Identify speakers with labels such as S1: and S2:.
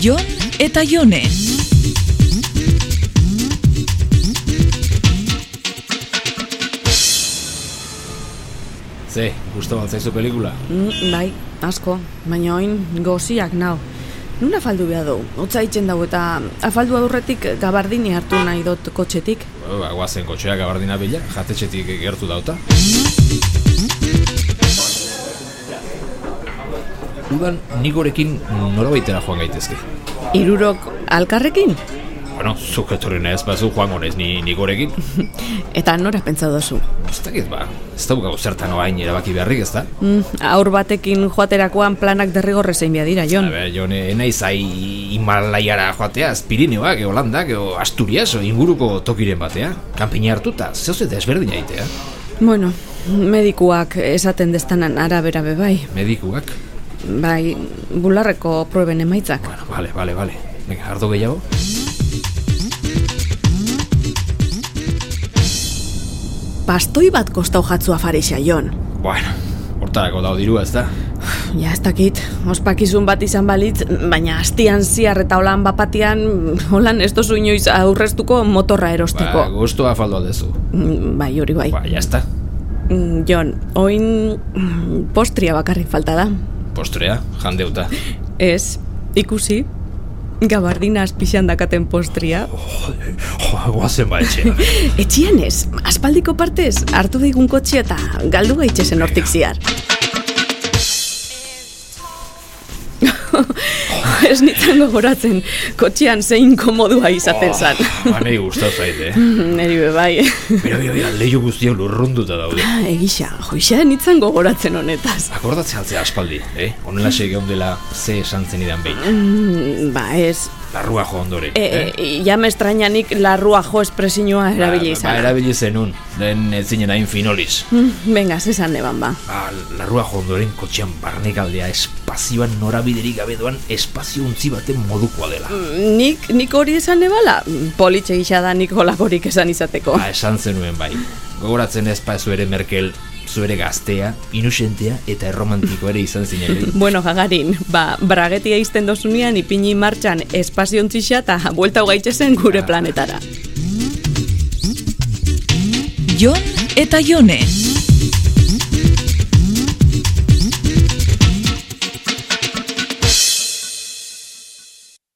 S1: Jon eta Jone.
S2: Ze, gusto baltzaizu pelikula.
S3: Mm, bai, asko, baina oin goziak nau. Nuna afaldu behar du, hotza itxen dago eta afaldu aurretik gabardini hartu nahi dut kotxetik.
S2: Ba, guazen kotxea gabardina bila, jatetxetik gertu dauta. Udan nik gorekin norabaitera joan gaitezke.
S3: Irurok alkarrekin?
S2: Bueno, zuk etorri nahez bazu joan gonez ni nik gorekin.
S3: Eta nora pentsa dozu?
S2: Ez dakit ba, ez daukagu zertan oain erabaki beharrik ez da?
S3: Mm, aur batekin joaterakoan planak derrigorre zein behar dira,
S2: A
S3: Jon.
S2: ber, jo, ne- naiz ai Himalaiara joatea, Pirineoak, eo Holandak, eo Asturias, o inguruko tokiren batea. Kanpina hartuta, zehoz eta ezberdina aitea.
S3: Bueno, medikuak esaten destanan arabera be bai.
S2: Medikuak.
S3: Bai, bularreko proben emaitzak.
S2: Bueno, vale, vale, vale. Venga, ardo gehiago.
S3: Pastoi bat kostau jatzua farisa, Jon.
S2: Bueno, hortarako dau dirua ez da.
S3: Ja, ez dakit, ospakizun bat izan balitz, baina astian ziar eta holan bapatian, holan ez dozu inoiz aurreztuko motorra erosteko.
S2: Ba, guztua faldo aldezu.
S3: Mm, Bai, hori bai.
S2: Ba, jazta.
S3: Mm, Jon, oin mm, postria bakarrik falta da.
S2: Postrea, jandeuta.
S3: Ez, ikusi, gabardina azpixan dakaten postria.
S2: Jo, guazen ba etxea.
S3: Etxian ez, aspaldiko partez, hartu digun kotxe eta galdu gaitxezen hortik ziar. ez nintzen gogoratzen, kotxean zein komodua izaten zan.
S2: Oh, ba, nei gustatu zaite.
S3: Neri be bai.
S2: Bero, bero, bero, lehiu guztiak lurrunduta daude.
S3: Egisa, joixea nintzen gogoratzen honetaz.
S2: Akordatzen altzea aspaldi, eh? Honela segi ondela ze esan zenidan behin.
S3: Mm, ba ez,
S2: Larrua jo ondoren.
S3: e,
S2: eh?
S3: e, ja me estrañanik larrua jo espresinua erabili
S2: Ba,
S3: izan. Mm,
S2: erabili zenun, den ez zinen hain finoliz.
S3: Venga, zesan neban ba.
S2: Ba, larrua jo ondoren kotxean barnekaldea espazioan norabiderik gabe doan espazio untzi baten modukoa
S3: Mm.
S2: dela.
S3: Nik, nik hori esan nebala? Politxe gisa da nik holakorik esan izateko.
S2: Ba, esan zenuen bai. Gogoratzen ez pa zuere Merkel, zuere gaztea, inusentea eta erromantiko ere izan zinen.
S3: Bueno, jagarin, ba, bragetia izten dozunean ipini martxan espaziontzixa eta buelta gaitxezen gure planetara.
S1: Jon eta Jone.